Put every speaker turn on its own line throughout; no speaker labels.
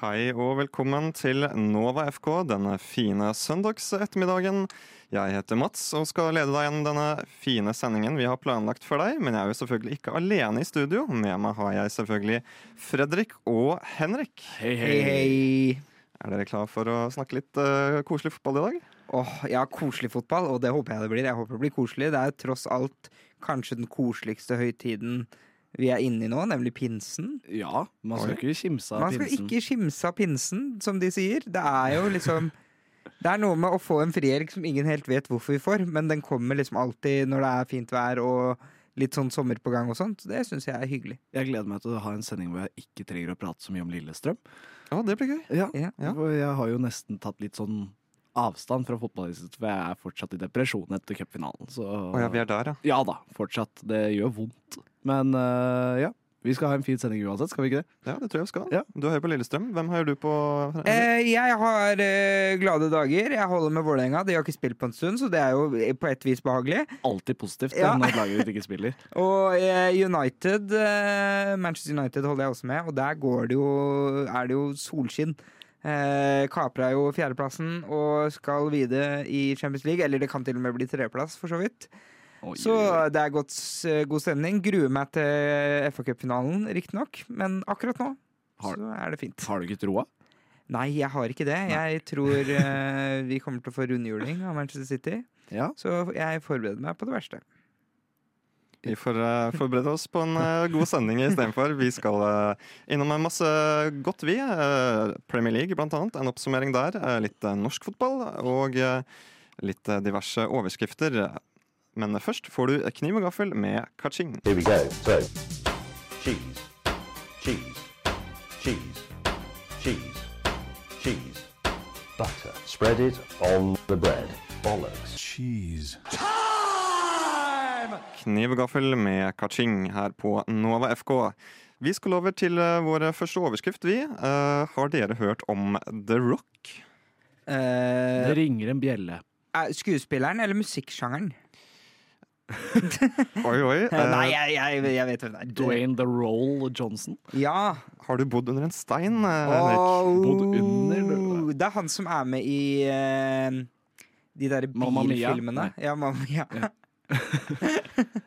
hei og velkommen til Nova FK denne fine søndagsettermiddagen. Jeg heter Mats og skal lede deg gjennom denne fine sendingen vi har planlagt for deg. Men jeg er jo selvfølgelig ikke alene i studio. Med meg har jeg selvfølgelig Fredrik og Henrik.
Hei,
Hei, hei.
Er dere klar for å snakke litt eh, koselig fotball i dag?
Åh, ja, koselig fotball, og det håper jeg det blir. Jeg håper det blir koselig. Det er tross alt kanskje den koseligste høytiden vi er inne i nå, nemlig pinsen.
Ja, man
Oi.
skal ikke kimse av
Man skal
pinsen.
ikke skimse av pinsen, som de sier. Det er jo liksom Det er noe med å få en frihelg som ingen helt vet hvorfor vi får, men den kommer liksom alltid når det er fint vær og litt sånn sommer på gang og sånt. Det syns jeg er hyggelig.
Jeg gleder meg til å ha en sending hvor jeg ikke trenger å prate så mye om Lillestrøm.
Å, det blir gøy.
Ja,
Ja.
Ja.
for Jeg har jo nesten tatt litt sånn avstand fra fotballinstituttet, for jeg er fortsatt i depresjon etter cupfinalen. Så
Å ja, vi er der, ja.
Ja da, fortsatt. Det gjør vondt. Men øh, ja, vi skal ha en fin sending uansett, skal vi ikke det?
Ja, Det tror jeg vi skal.
Ja.
Du heier på Lillestrøm. Hvem heier du på? Henrik?
Eh, jeg har eh, glade dager. Jeg holder med Vålerenga. De har ikke spilt på en stund, så det er jo på et vis behagelig.
Alltid positivt eh,
Ja.
når laget ditt ikke spiller.
Og eh, United eh, Manchester United holder jeg også med, og der går det jo, er det jo solskinn. Eh, Kapra jo fjerdeplassen og skal videre i Champions League. Eller det kan til og med bli tredjeplass, for så vidt.
Oi,
Så
oi, oi.
det er godt, s- god stemning. Gruer meg til eh, FA-cupfinalen, riktignok, men akkurat nå
Har-
så er det fint.
Har du ikke troa?
Nei, jeg har ikke det. Jeg tror eh, vi kommer til å få rundhjuling av Manchester City,
Ja.
så jeg forbereder meg på det verste.
Vi får eh, forberede oss på en eh, god sending istedenfor. Vi skal eh, innom en masse godt, vi. eh, Premier League, blant annet. En oppsummering der. eh, litt eh, norsk fotball og eh, litt eh, diverse overskrifter. Men først får du kniv og gaffel med kaching.
Here we go. So, cheese, cheese, cheese, cheese, cheese, butter. Spread it on the bread. Bollocks.
cheese.
Kniv og gaffel med kaching her på Nova FK. Vi skal over til eh, vår første overskrift, vi. Eh, har dere hørt om The Rock?
Eh,
Det ringer en bjelle.
er skuespilleren eller musikksjangeren?
Oi, oi.
Eh, Nei,
eh,
jeg, jeg, jeg vet hvem det er.
Dwayne The Roll Johnson.
Ja.
har du bodd under en stein, eh, Henrik?
Bodd under-
Åh, det er han som er med i eh, de derre
Mamma Mia.
bilfilmene.
Nei.
Ja, Mamma Mia.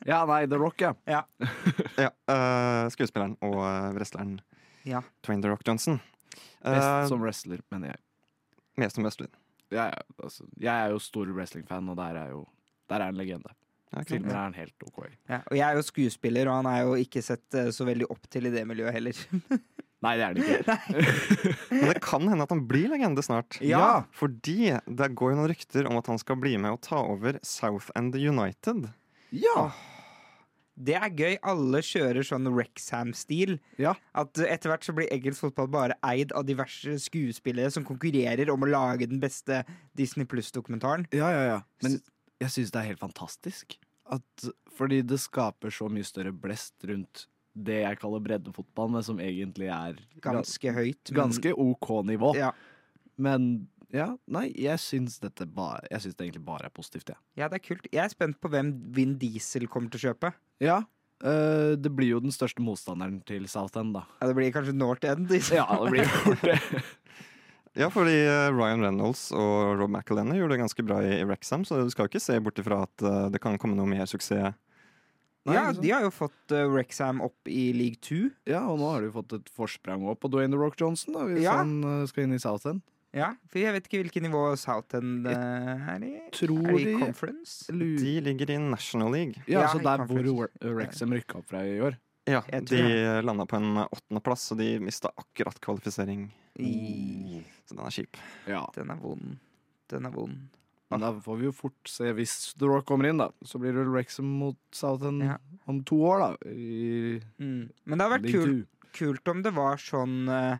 Ja, nei, The Rock, ja.
Ja, eh, skuespilleren og eh, wrestleren
Ja.
Twain The Rock Johnson. Eh,
Best som wrestler, mener jeg.
Mest som wrestler.
jeg, er- altså, jeg er jo stor wrestling-fan, og der er jo der er en legende.
Ja, ikke sant?
Filmer er en helt OK. i.
Ja, og jeg er jo skuespiller, og han er jo ikke sett eh, så veldig opp til i det miljøet heller.
Nei, det er det ikke.
Men det kan hende at han blir legende snart.
Ja.
Fordi det går jo noen rykter om at han skal bli med og ta over Southend United.
Ja!
Det er gøy. Alle kjører sånn Rexham-stil.
Ja.
At eh, etter hvert så blir engelsk fotball bare eid av diverse skuespillere som konkurrerer om å lage den beste Disney Pluss-dokumentaren.
ja, ja, ja. Men jeg syns det er helt fantastisk. At, fordi det skaper så mye større blest rundt det jeg kaller breddefotball, men som egentlig er gans-
Ganske høyt. men-
ganske OK nivå.
Ja.
Men ja, nei, jeg syns dette bare Jeg syns det egentlig bare er positivt, jeg.
Ja, det er kult. Jeg er spent på hvem Vin Diesel kommer til å kjøpe.
Ja. øh, det blir jo den største motstanderen til Southend, da.
Ja, det blir kanskje North End.
Ja, det blir jo fort det.
Ja, fordi eh, Ryan Reynolds og Rob McElhenney gjorde det ganske bra i i Wrexham, så du skal jo ikke se bort ifra at eh, det kan komme noe mer suksess.
Nei,
ja,
ikke sant.
de har jo fått uh, Rexham opp i league 2.
Ja, og nå har du fått et forsprang opp på Dwayne The Rock Johnson, da, hvis
Ja.
han eh, skal inn i Southend.
Ja, for jeg vet ikke hvilket nivå Southend eh, er i.
Tror
Er de i
de-
conference?
Lu-
De ligger i National League.
Ja,
Ja,
så
i
der hvor
conference.
Wa- Wrexham rykka opp fra i år.
Ja,
Jeg tror
De landa på en eh, åttendeplass, og de mista akkurat kvalifisering.
I...
Mm.
Så den er kjip.
Ja,
Den er vond. Den er vond.
men da får vi jo fort se hvis The Rock kommer inn, da. Så blir det Wrexham mot Southend
Ja.
om to år, da. I
Mm. Men det hadde vært
League
kult,
Two.
kult om det var sånn eh,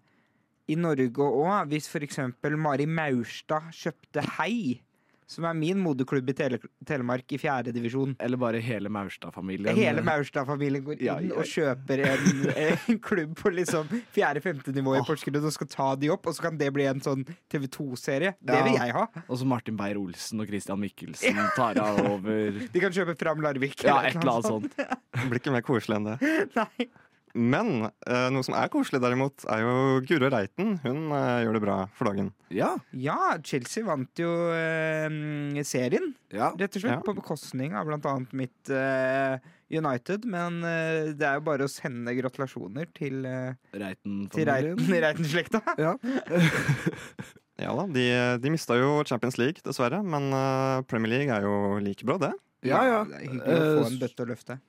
i Norge òg, hvis for eksempel Mari Maurstad kjøpte Hei, som er min moderklubb i Tele Telemark i fjerde divisjon.
Eller bare hele Maurstad-familien.
Hele Maurstad-familien går inn
Ja, ja, ja.
og kjøper en, en klubb på liksom fjerde-femte nivå i Porsgrunn og skal ta de opp, og så kan det bli en sånn TV2-serie. Det
Ja.
vil jeg ha.
Og så Martin Beyer-Olsen og Christian Mikkelsen tar av over
De kan kjøpe Fram Larvik.
Ja, et eller annet sånt.
Det blir ikke mer koselig enn det.
sånt. Nei.
Men eh, noe som er koselig, derimot, er jo Guro Reiten. Hun eh, gjør det bra for dagen.
Ja.
Ja, Chelsea vant jo eh, serien,
ja.
rett og slett.
Ja.
På bekostning av bl.a. mitt eh, United. Men eh, det er jo bare å sende gratulasjoner til, eh, til
Reiten-familien.
Reiten- Reiten-slekta.
Ja.
Ja da, De, eh, de mista jo Champions League, dessverre, men eh, Premier League er jo like bra, det.
ja, ja.
Det er hyggelig å få en
Eh,
bøtte å løfte.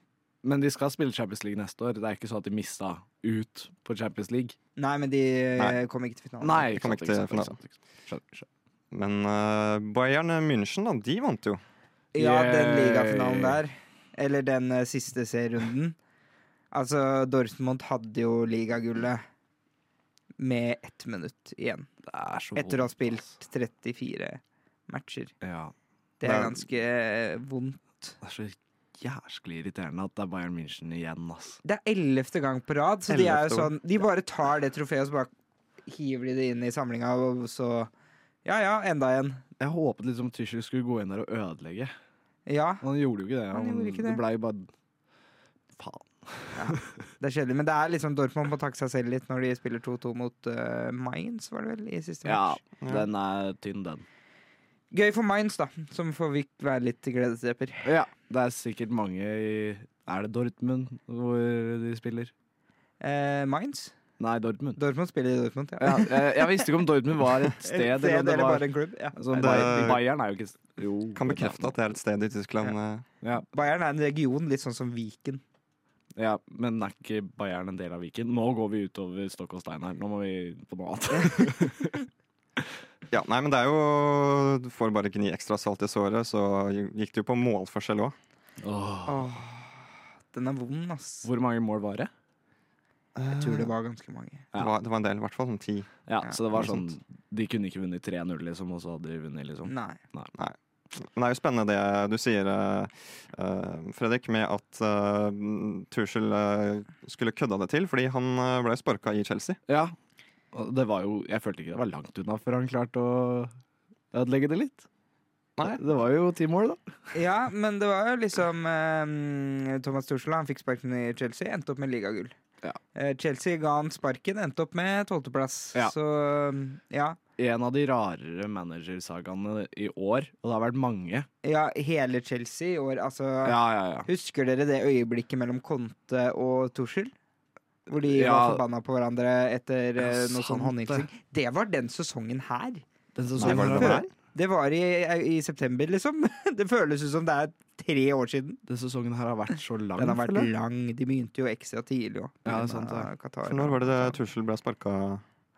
Men de skal spille Champions League neste år. Det er ikke sånn at de mista ut på Champions League.
Nei, men de
Nei.
kom ikke til finalen.
Nei,
de kom
sant,
ikke til
sant,
finalen.
sant, ikke sant. Skjønner, skjønner.
Men eh, Bayern München, da, de vant jo.
Ja, den
Yay.
ligafinalen der. Eller den eh, siste serierunden. Altså, Dortmund hadde jo ligagullet med ett minutt igjen.
Det er så
Etter å ha
vondt, ass.
spilt 34 matcher.
Ja.
Det er
Men-
ganske eh, vondt.
Det er så jæsklig irriterende at det er Bayern München igjen, ass.
Det er ellevte gang på rad, så de er jo
Ellevte
sånn De bare tar det trofeet, og så bare hiver de det inn i samlinga, og så Ja ja, enda en.
Jeg håpet liksom Tyskland skulle gå inn der og ødelegge.
Ja,
Men han gjorde jo ikke det.
Han gjorde ikke
det.
det.
blei bare Faen.
det er kjedelig. Men det er liksom Dortmund må takke seg selv litt når de spiller 2-2 mot eh, Mainz, var det vel, i siste
Ja,
match.
den er tynn, den.
Gøy for Mainz, da, som får vi være litt gledesdreper.
Ja, det er sikkert mange i Er det Dortmund hvor de spiller?
Eh, Mainz?
Nei, Dortmund.
Dortmund spiller i Dortmund, ja.
Ja, jeg, jeg visste ikke om Dortmund var et sted.
Et
eller om det
eller
var,
bare en klubb. Ja.
altså,
Det-
Bayern, Bayern er jo ikke Jo.
Kan bekrefte at det er et sted i Tyskland. eh.
ja,
Bayern er en region, litt sånn som Viken.
ja, Men er ikke Bayern en del av Viken? Nå går vi utover stokk og stein her. Nå må vi på noe annet.
Ja, nei, men det er jo Du får bare gni ekstra salt i såret, så gikk det jo på målforskjell òg.
Åh.
Åh, den er vond, ass.
Ah. Hvor mange mål var det?
Jeg tror det var ganske mange.
Det, var, det var en del, i hvert fall sånn ti.
Ja,
Ja,
Så det var
noe
sånn De kunne ikke vunnet 3-0, liksom, og så hadde de vunnet, liksom.
Nei.
Men det er jo spennende det du sier, eh, eh, Fredrik, med at uh, Tuchel eh, skulle kødda det til, fordi han eh, ble sparka i Chelsea.
Ja. Og det var jo Jeg følte ikke det var langt unna før han klarte å ødelegge det litt.
Nei.
Det var jo ti mål, da.
Ja, men det var jo liksom eh, Thomas Tuchel han fikk sparken i Chelsea, endte opp med ligagull.
Ja.
Eh, Chelsea ga han sparken, endte opp med tolvteplass.
Ja.
Så mm, ja.
En av de rarere managersagaene i år, og det har vært mange.
ja, hele Chelsea i år, altså
Ja, ja, ja.
Husker dere det øyeblikket mellom Conte og Tuchel? Hvor de var
Ja.
forbanna på hverandre etter
Ja,
eh, noe
sant
sånn håndhilsing. Det var den sesongen her.
Den
Nei,
sesongen,
var det
her,
det
var,
her?
Det var i, i september, liksom. Det føles ut som det er tre år siden.
den sesongen her har vært så lang.
Den har vært
føler jeg.
lang. De begynte jo ekstra tidlig òg.
Ja, det er sant, det.
For når var det det Tuchel ble sparka?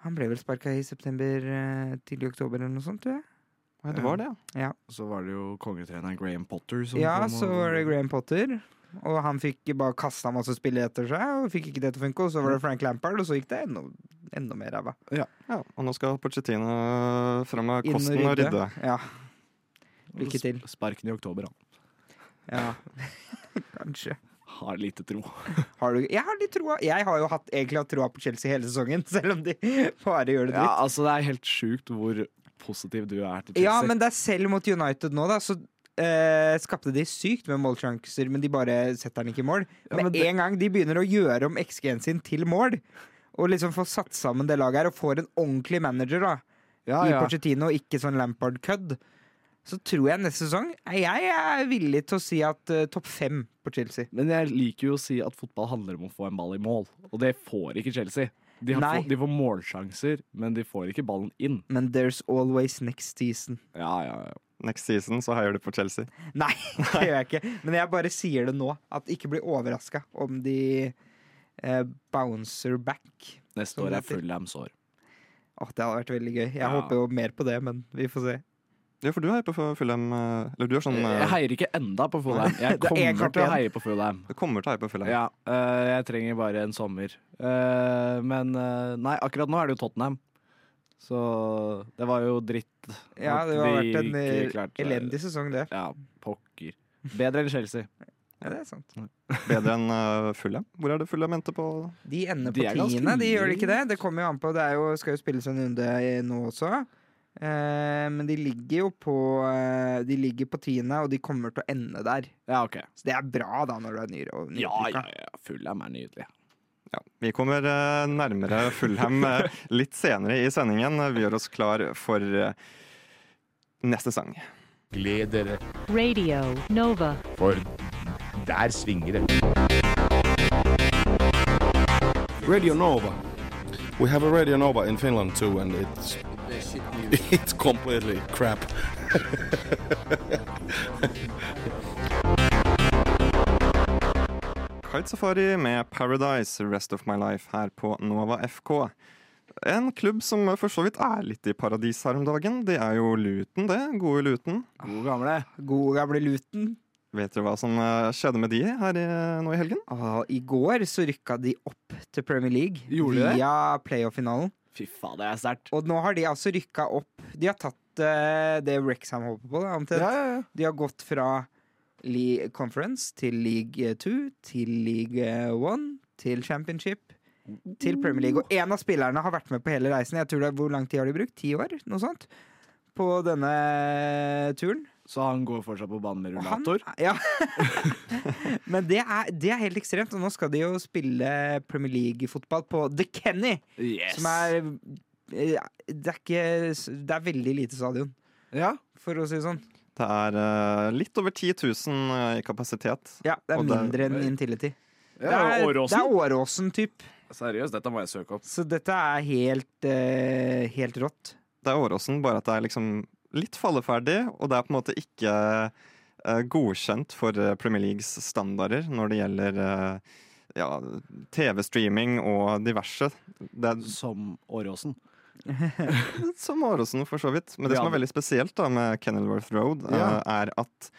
Han ble vel sparka i september, eh, tidlig oktober eller noe sånt, tror jeg.
Nei, det var det, ja.
Så var det jo kongetreneren Graham Potter som
ja,
kom.
så var det Graham Potter. Og han fikk bare kasta masse spill etter seg, og fikk ikke det til å funke. Og så var det Frank Lampard, og så gikk det enda, enda mer ræva.
ja. Og nå skal Pochettino fram med
Inn og
kosten og rydde.
Ja, Lykke til.
Sparken i oktober, han.
ja. Kanskje.
Har lite tro.
Har du, jeg har litt troa. Jeg har jo hatt, egentlig hatt troa på Chelsea hele sesongen, selv om de bare gjør det dritt.
Ja, altså Det er helt sjukt hvor positiv du er til Chelsea.
Ja, men det er selv mot United nå, da. Så eh, skapte de sykt med målsjanser, men de bare setter den ikke i mål.
Ja,
med
men det-
en gang de begynner å gjøre om XG-en sin til mål, og liksom få satt sammen det laget her, og får en ordentlig manager da
ja,
i
ja.
Pochettino, ikke sånn Lampard-kødd, så tror jeg neste sesong Jeg er villig til å si at eh, topp fem på Chelsea.
Men jeg liker jo å si at fotball handler om å få en ball i mål, og det får ikke Chelsea. De, har
Nei.
få, de får målsjanser, men de får ikke ballen inn.
Men there's always next season.
Ja, ja, ja.
Next season så heier du på Chelsea.
Nei, det gjør jeg ikke. Men jeg bare sier det nå. At ikke bli overraska om de eh, bouncer back
Neste
Som
år
det
er
heter.
Fulhams år.
Åh, det hadde vært veldig gøy. Jeg
Ja.
håper jo mer på det, men vi får se.
Ja, for du heier på Fulham eh, Eller du er sånn eh,
Jeg heier ikke enda på Fulham. Jeg
Det er en
kommer
kamp
til å
igjen.
heie på Fulham.
Du kommer til å heie på Fulham.
Ja, øh, jeg trenger bare en sommer. Øh, men øh, nei, akkurat nå er det jo Tottenham. Så det var jo dritt.
Ja,
at
det har
de
vært en
ikke
eh,
klarte-
elendig sesong, det.
Ja, pokker. Bedre enn Chelsea.
Ja, det er sant.
Bedre enn eh, Fulham. Hvor er det Fulham endte på?
De ender på
De er ganske
tiende, de gjør det ikke det?
likt.
Det kommer jo an på. Det er jo, skal jo spilles en runde i- nå også. Eh, men de ligger jo på eh, De ligger på tiende, og de kommer til å ende der.
Ja, OK.
Så det er bra, da, når du er nyere.
Ja, ja, ja. Fulham er nydelig.
Ja, vi kommer eh, nærmere Fulham eh, litt senere i sendingen. Vi gjør oss klar for eh, neste sang.
Gled dere,
Radio Nova.
for der er svinger det.
Radio Nova. We have a Radio Nova in Finland too, and it's it's completely crap.
Kitesafari med 'Paradise Rest of My Life' her på Nova FK. En klubb som for så vidt er litt i paradis her om dagen. Det er jo Luton, det. Gode Luton.
Gode gamle.
God gamle Luton.
Vet dere hva som eh, skjedde med de her i, nå i helgen?
Og I går så rykka de opp til Premier League
Gjorde de det?
via playoff-finalen.
Fy faen, det er sterkt.
Og nå har de altså rykka opp. De har tatt eh, det Rexham håper på, da, omtrent. De har gått fra League Conference til League 2 til League 1 til Championship til Premier League. Og én av spillerne har vært med på hele reisen. Jeg tror det er, Hvor lang tid har de brukt? Ti år? Noe sånt? På denne turen.
Så han går fortsatt på banen med
Og han-
rullator?
Ja. Men det er, det er helt ekstremt. Og nå skal de jo spille Premier League-fotball på The Kenny,
Yes.
som er eh, det er, ikke, det er veldig lite stadion,
Ja.
for å si det sånn.
Det er eh, litt over 10 000 eh, i kapasitet.
Ja, Det er
Og det er-
mindre enn Intility.
Det er
det er
Åråsen.
Åråsen, typ.
Seriøst, dette må jeg søke opp.
Så dette er helt, eh, helt rått.
Det er Åråsen, bare at det er liksom litt falleferdig, og det er på en måte ikke eh, godkjent for eh, Premier Leagues standarder når det gjelder eh, ja, TV-streaming og diverse. Det er
Som Åråsen.
som Åråsen, for så vidt. Men det
Ja.
som er veldig spesielt da med Kenilworth Road, eh,
Ja.
er at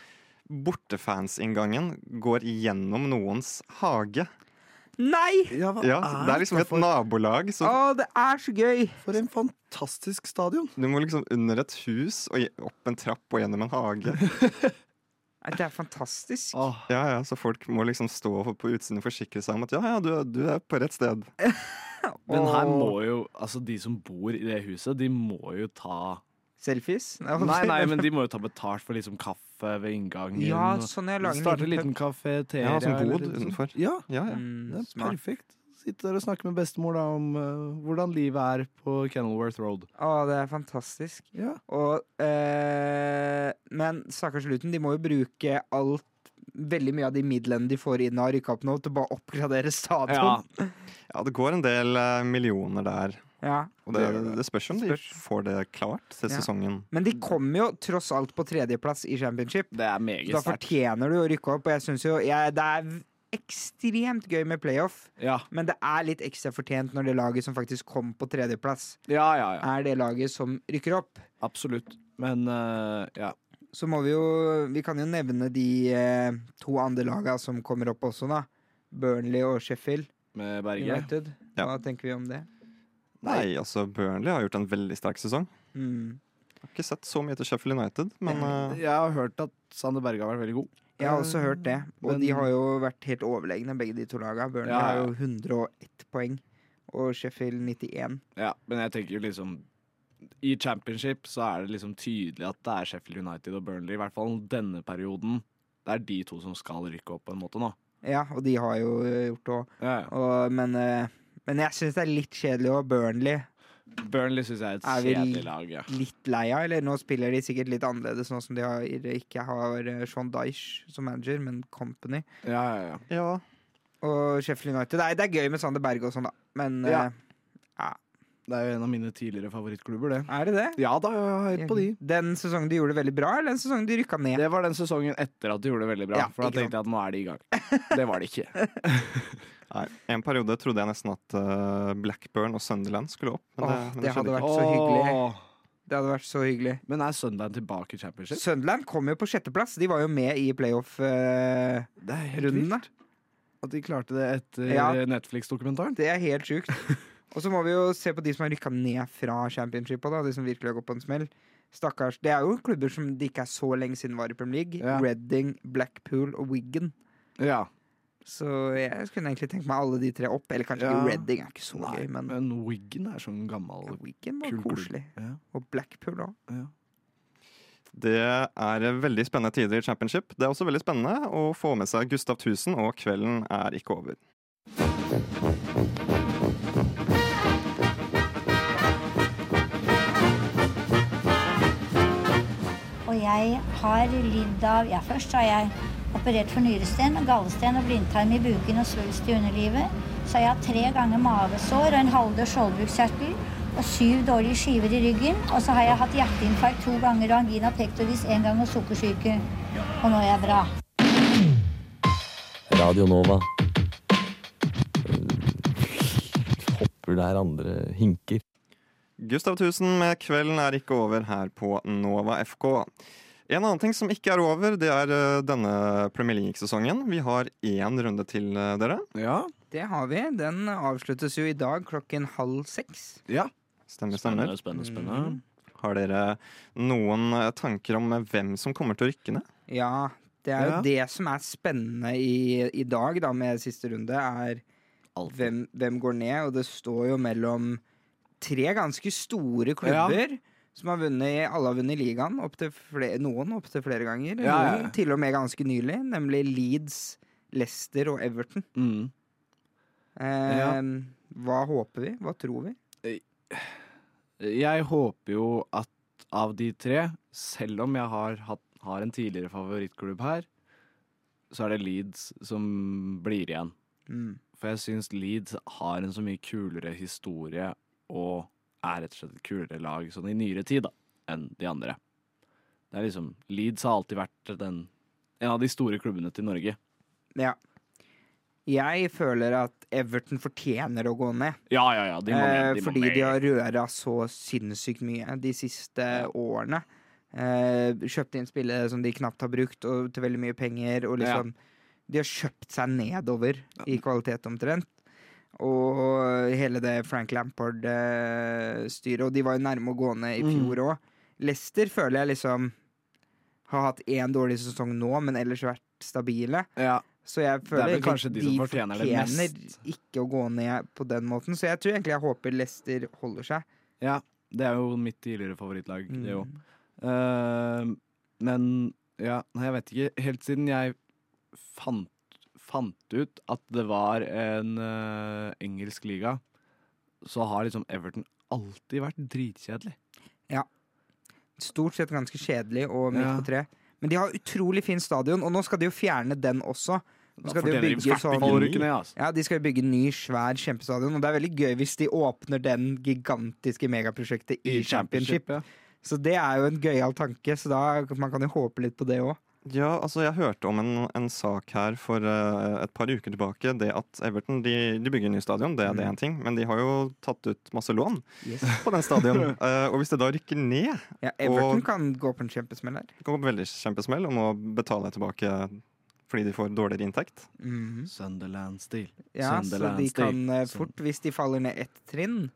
bortefansinngangen går gjennom noens hage.
Nei!
Ja, hva
Ja, det er liksom et nabolag.
Å,
Så
det er så gøy!
for en fantastisk stadion.
du må liksom under et hus og gje- opp en trapp og gjennom en hage.
Nei, Det er fantastisk.
Åh,
Ja, ja, så folk må liksom stå på utsiden og forsikre seg om at ja, ja, du, du er på rett sted.
men her
Og
må jo Altså, de som bor i det huset, de må jo ta
Selfies?
Nei, nei, men de må jo ta betalt for liksom kaffe ved inngangen.
Ja,
og-
sånn jeg lager
Starte en liten kafeteria.
Ja, som
eller
bod
litt sånn.
utenfor.
Ja,
Ja, ja.
Mm,
det er
smart.
perfekt. Sitte der og snakke med bestemor da om eh, hvordan livet er på Kenilworth Road.
Å, det er fantastisk.
Ja.
Og, eh, men stakkars Luton, de må jo bruke alt Veldig mye av de midlene de får inn av rykka opp nå, til å bare oppgradere
Ja,
stadion.
ja, det går en del eh, millioner der.
Ja.
Og det, det spørs om de
Spørs.
får det klart til
Ja.
sesongen.
Men de kom jo tross alt på tredjeplass i championship.
det er meget
Da
sterkt.
fortjener du å rykke opp, og jeg syns jo jeg, det er v- ekstremt gøy med playoff.
Ja,
Men det er litt ekstra fortjent når det laget som faktisk kom på tredjeplass,
ja, ja, ja.
er det laget som rykker opp.
absolutt. Men eh, ja.
Så må vi jo Vi kan jo nevne de eh, to andre laga som kommer opp også, da. Burnley og Sheffield
Med Berge.
United.
Ja.
Hva tenker vi om det?
Nei, altså Burnley har gjort en veldig sterk sesong.
Mm.
Jeg har ikke sett så mye til Sheffield United, men eh,
Jeg har hørt at Sander Berge har vært veldig god.
Jeg har også hørt det. Og
Eh, men-
de har jo vært helt overlegne, begge de to laga. Burnley
Ja, ja.
har jo 101 poeng, og Sheffield 91.
Ja, men jeg tenker jo liksom I championship så er det liksom tydelig at det er Sheffield United og Burnley, i hvert fall denne perioden. Det er de to som skal rykke opp på en måte nå.
Ja, og de har jo eh, gjort det òg.
Ja, ja.
Og, men, eh, men jeg syns det er litt kjedelig å Burnley.
Burnley syns jeg er et
Er vi-
kjedelig lag. Ja.
Litt lei av, eller nå spiller de sikkert litt annerledes nå som de har, ikke har eh, Sean Dyche som manager, men Company.
Ja, ja, ja.
ja.
Og Sheffield United. Nei, det er gøy med Sander Berge og sånn, da, men
Ja.
eh,
Det er jo en av mine tidligere favorittklubber, det.
er det det?
Ja da, jeg har hørt på de.
Den sesongen de gjorde det veldig bra, eller den sesongen de rykka ned?
Det var den sesongen etter at de gjorde det veldig bra.
Ja,
for da
ikke sant.
tenkte jeg at nå er de i gang. Det var de ikke.
Nei, En periode trodde jeg nesten at eh, Blackburn og Sunderland skulle opp. Men det,
Åh,
men
det
det
hadde
skjedde ikke.
vært så hyggelig.
Åh,
Det hadde vært så hyggelig.
Men er Sunderland tilbake i championship?
Sunderland kom jo på sjetteplass. De var jo med i eh, playoff-rundene.
Det er helt vilt at de klarte det etter
Ja.
Netflix-dokumentaren.
Det er helt sjukt. Og så må vi jo se på de som har rykka ned fra championship. Da, de som virkelig har gått på en smell. Stakkars. Det er jo klubber som det ikke er så lenge siden var i Premier League.
Ja.
Reading, Blackpool og Wigan.
Ja.
Så jeg kunne egentlig tenkt meg alle de tre opp. Eller kanskje
Ja.
ikke Reading er ikke så
Nei,
gøy, men,
men Wiggen er sånn gammel
ja, Wigan var
kul klubb.
koselig.
Ja.
Og Blackpool òg.
ja.
Det er eh, veldig spennende tider i championship. Det er også veldig spennende å få med seg Gustav Tusen, og kvelden er ikke over.
Og jeg har lidd av Ja, først har jeg operert for nyresten, gallesten og blindtarm i buken og svulst i underlivet. Så har jeg hatt tre ganger mavesår og en halvdød skjoldbruskkjertel og syv dårlige skiver i ryggen. Og så har jeg hatt hjerteinfarkt to ganger og angina pectoris én gang og sukkersyke. Og nå er jeg bra.
Radio Nova. Eh, Hopper der andre hinker.
Gustav Tusen med 'Kvelden er ikke over' her på Nova FK. En annen ting som ikke er over, det er eh, denne Premier League-sesongen. Vi har én runde til eh, dere.
Ja.
Det har vi. Den avsluttes jo i dag klokken halv seks.
ja.
Stemmer, stemmer.
Spennende, spennende, spennende.
Har dere eh, noen eh, tanker om eh, hvem som kommer til å rykke ned?
Ja, det er jo
Ja.
det som er spennende i, i dag da, med siste runde, er
Alt.
hvem, hvem går ned. Og det står jo mellom tre ganske store klubber. Som har vunnet, alle har vunnet ligaen, opp til fle- noen opptil flere ganger.
Ja, ja, ja.
Noen til og med ganske nylig, nemlig Leeds, Leicester og Everton.
Mm.
Eh,
Ja.
Hva håper vi? Hva tror vi?
Jeg håper jo at av de tre, selv om jeg har, hatt, har en tidligere favorittklubb her, så er det Leeds som blir igjen.
Mm.
For jeg syns Leeds har en så mye kulere historie og er rett og slett et kulere lag sånn i nyere tid da, enn de andre. Det er liksom, Leeds har alltid vært den, en av de store klubbene til Norge.
Ja. Jeg føler at Everton fortjener å gå ned.
Ja, ja, ja, de må med.
eh,
De må
fordi
med.
de har røra så sinnssykt mye de siste årene. Eh, kjøpt inn spillere som de knapt har brukt, og til veldig mye penger. Og
Ja.
liksom, De har kjøpt seg nedover i kvalitet, omtrent. Og hele det Frank Lampard-styret. Og de var jo nærme å gå ned i
Mm.
fjor òg. Leicester føler jeg liksom har hatt én dårlig sesong nå, men ellers vært stabile.
ja.
Så jeg
er
føler
vel
egentlig
kanskje de som fortjener det mest.
ikke å gå ned på den måten. Så jeg tror egentlig jeg håper Leicester holder seg.
Ja, det er jo mitt tidligere favorittlag, det
Mm.
Mm. jo. Eh, men ja, nei, jeg vet ikke. Helt siden jeg fant, fant ut at det var en eh, engelsk liga, så har liksom Everton alltid vært dritkjedelig.
Stort sett ganske kjedelig og midt
Ja.
på tre. Men de har utrolig fin stadion, og nå skal de jo fjerne den også. Nå skal de jo
fortjener
bygge
i hvert
sånn
fall å rykke ned, altså.
ja, De skal jo bygge en ny, svær kjempestadion, og det er veldig gøy hvis de åpner den gigantiske megaprosjektet i, championship. Så det er jo en gøyal tanke, så da, man kan jo håpe litt på det òg.
Ja, altså Jeg hørte om en, en sak her for eh, et par uker tilbake. Det at Everton de, de bygger en ny stadion, det, det er en ting. Men de har jo tatt ut masse lån på den stadion. Eh, og hvis det da rykker ned,
Ja, Everton
Og-
kan gå på en kjempesmell her.
går det veldig kjempesmell og må betale tilbake fordi de får dårligere inntekt.
Mhm.
Sunderland-stil.
Ja, så de
Sunderland-stil.
kan eh,
Sun-
fort, hvis de faller ned ett trinn,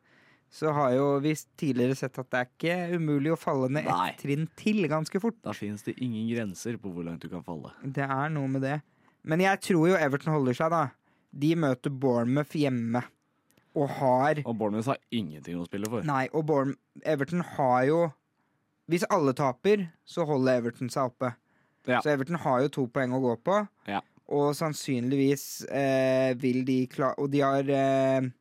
så har jo vi tidligere sett at det er ikke umulig å falle ned
Nei.
ett trinn til ganske fort.
Da finnes det ingen grenser på hvor langt du kan falle.
Det er noe med det. Men jeg tror jo Everton holder seg, da. De møter Bournemouth hjemme og har
Og Bournemouth har ingenting å spille for.
Nei, og Bourne, Everton har jo Hvis alle taper, så holder Everton seg oppe.
Ja.
Så Everton har jo to poeng å gå på.
Ja.
Og sannsynligvis eh, vil de klare Og de har eh,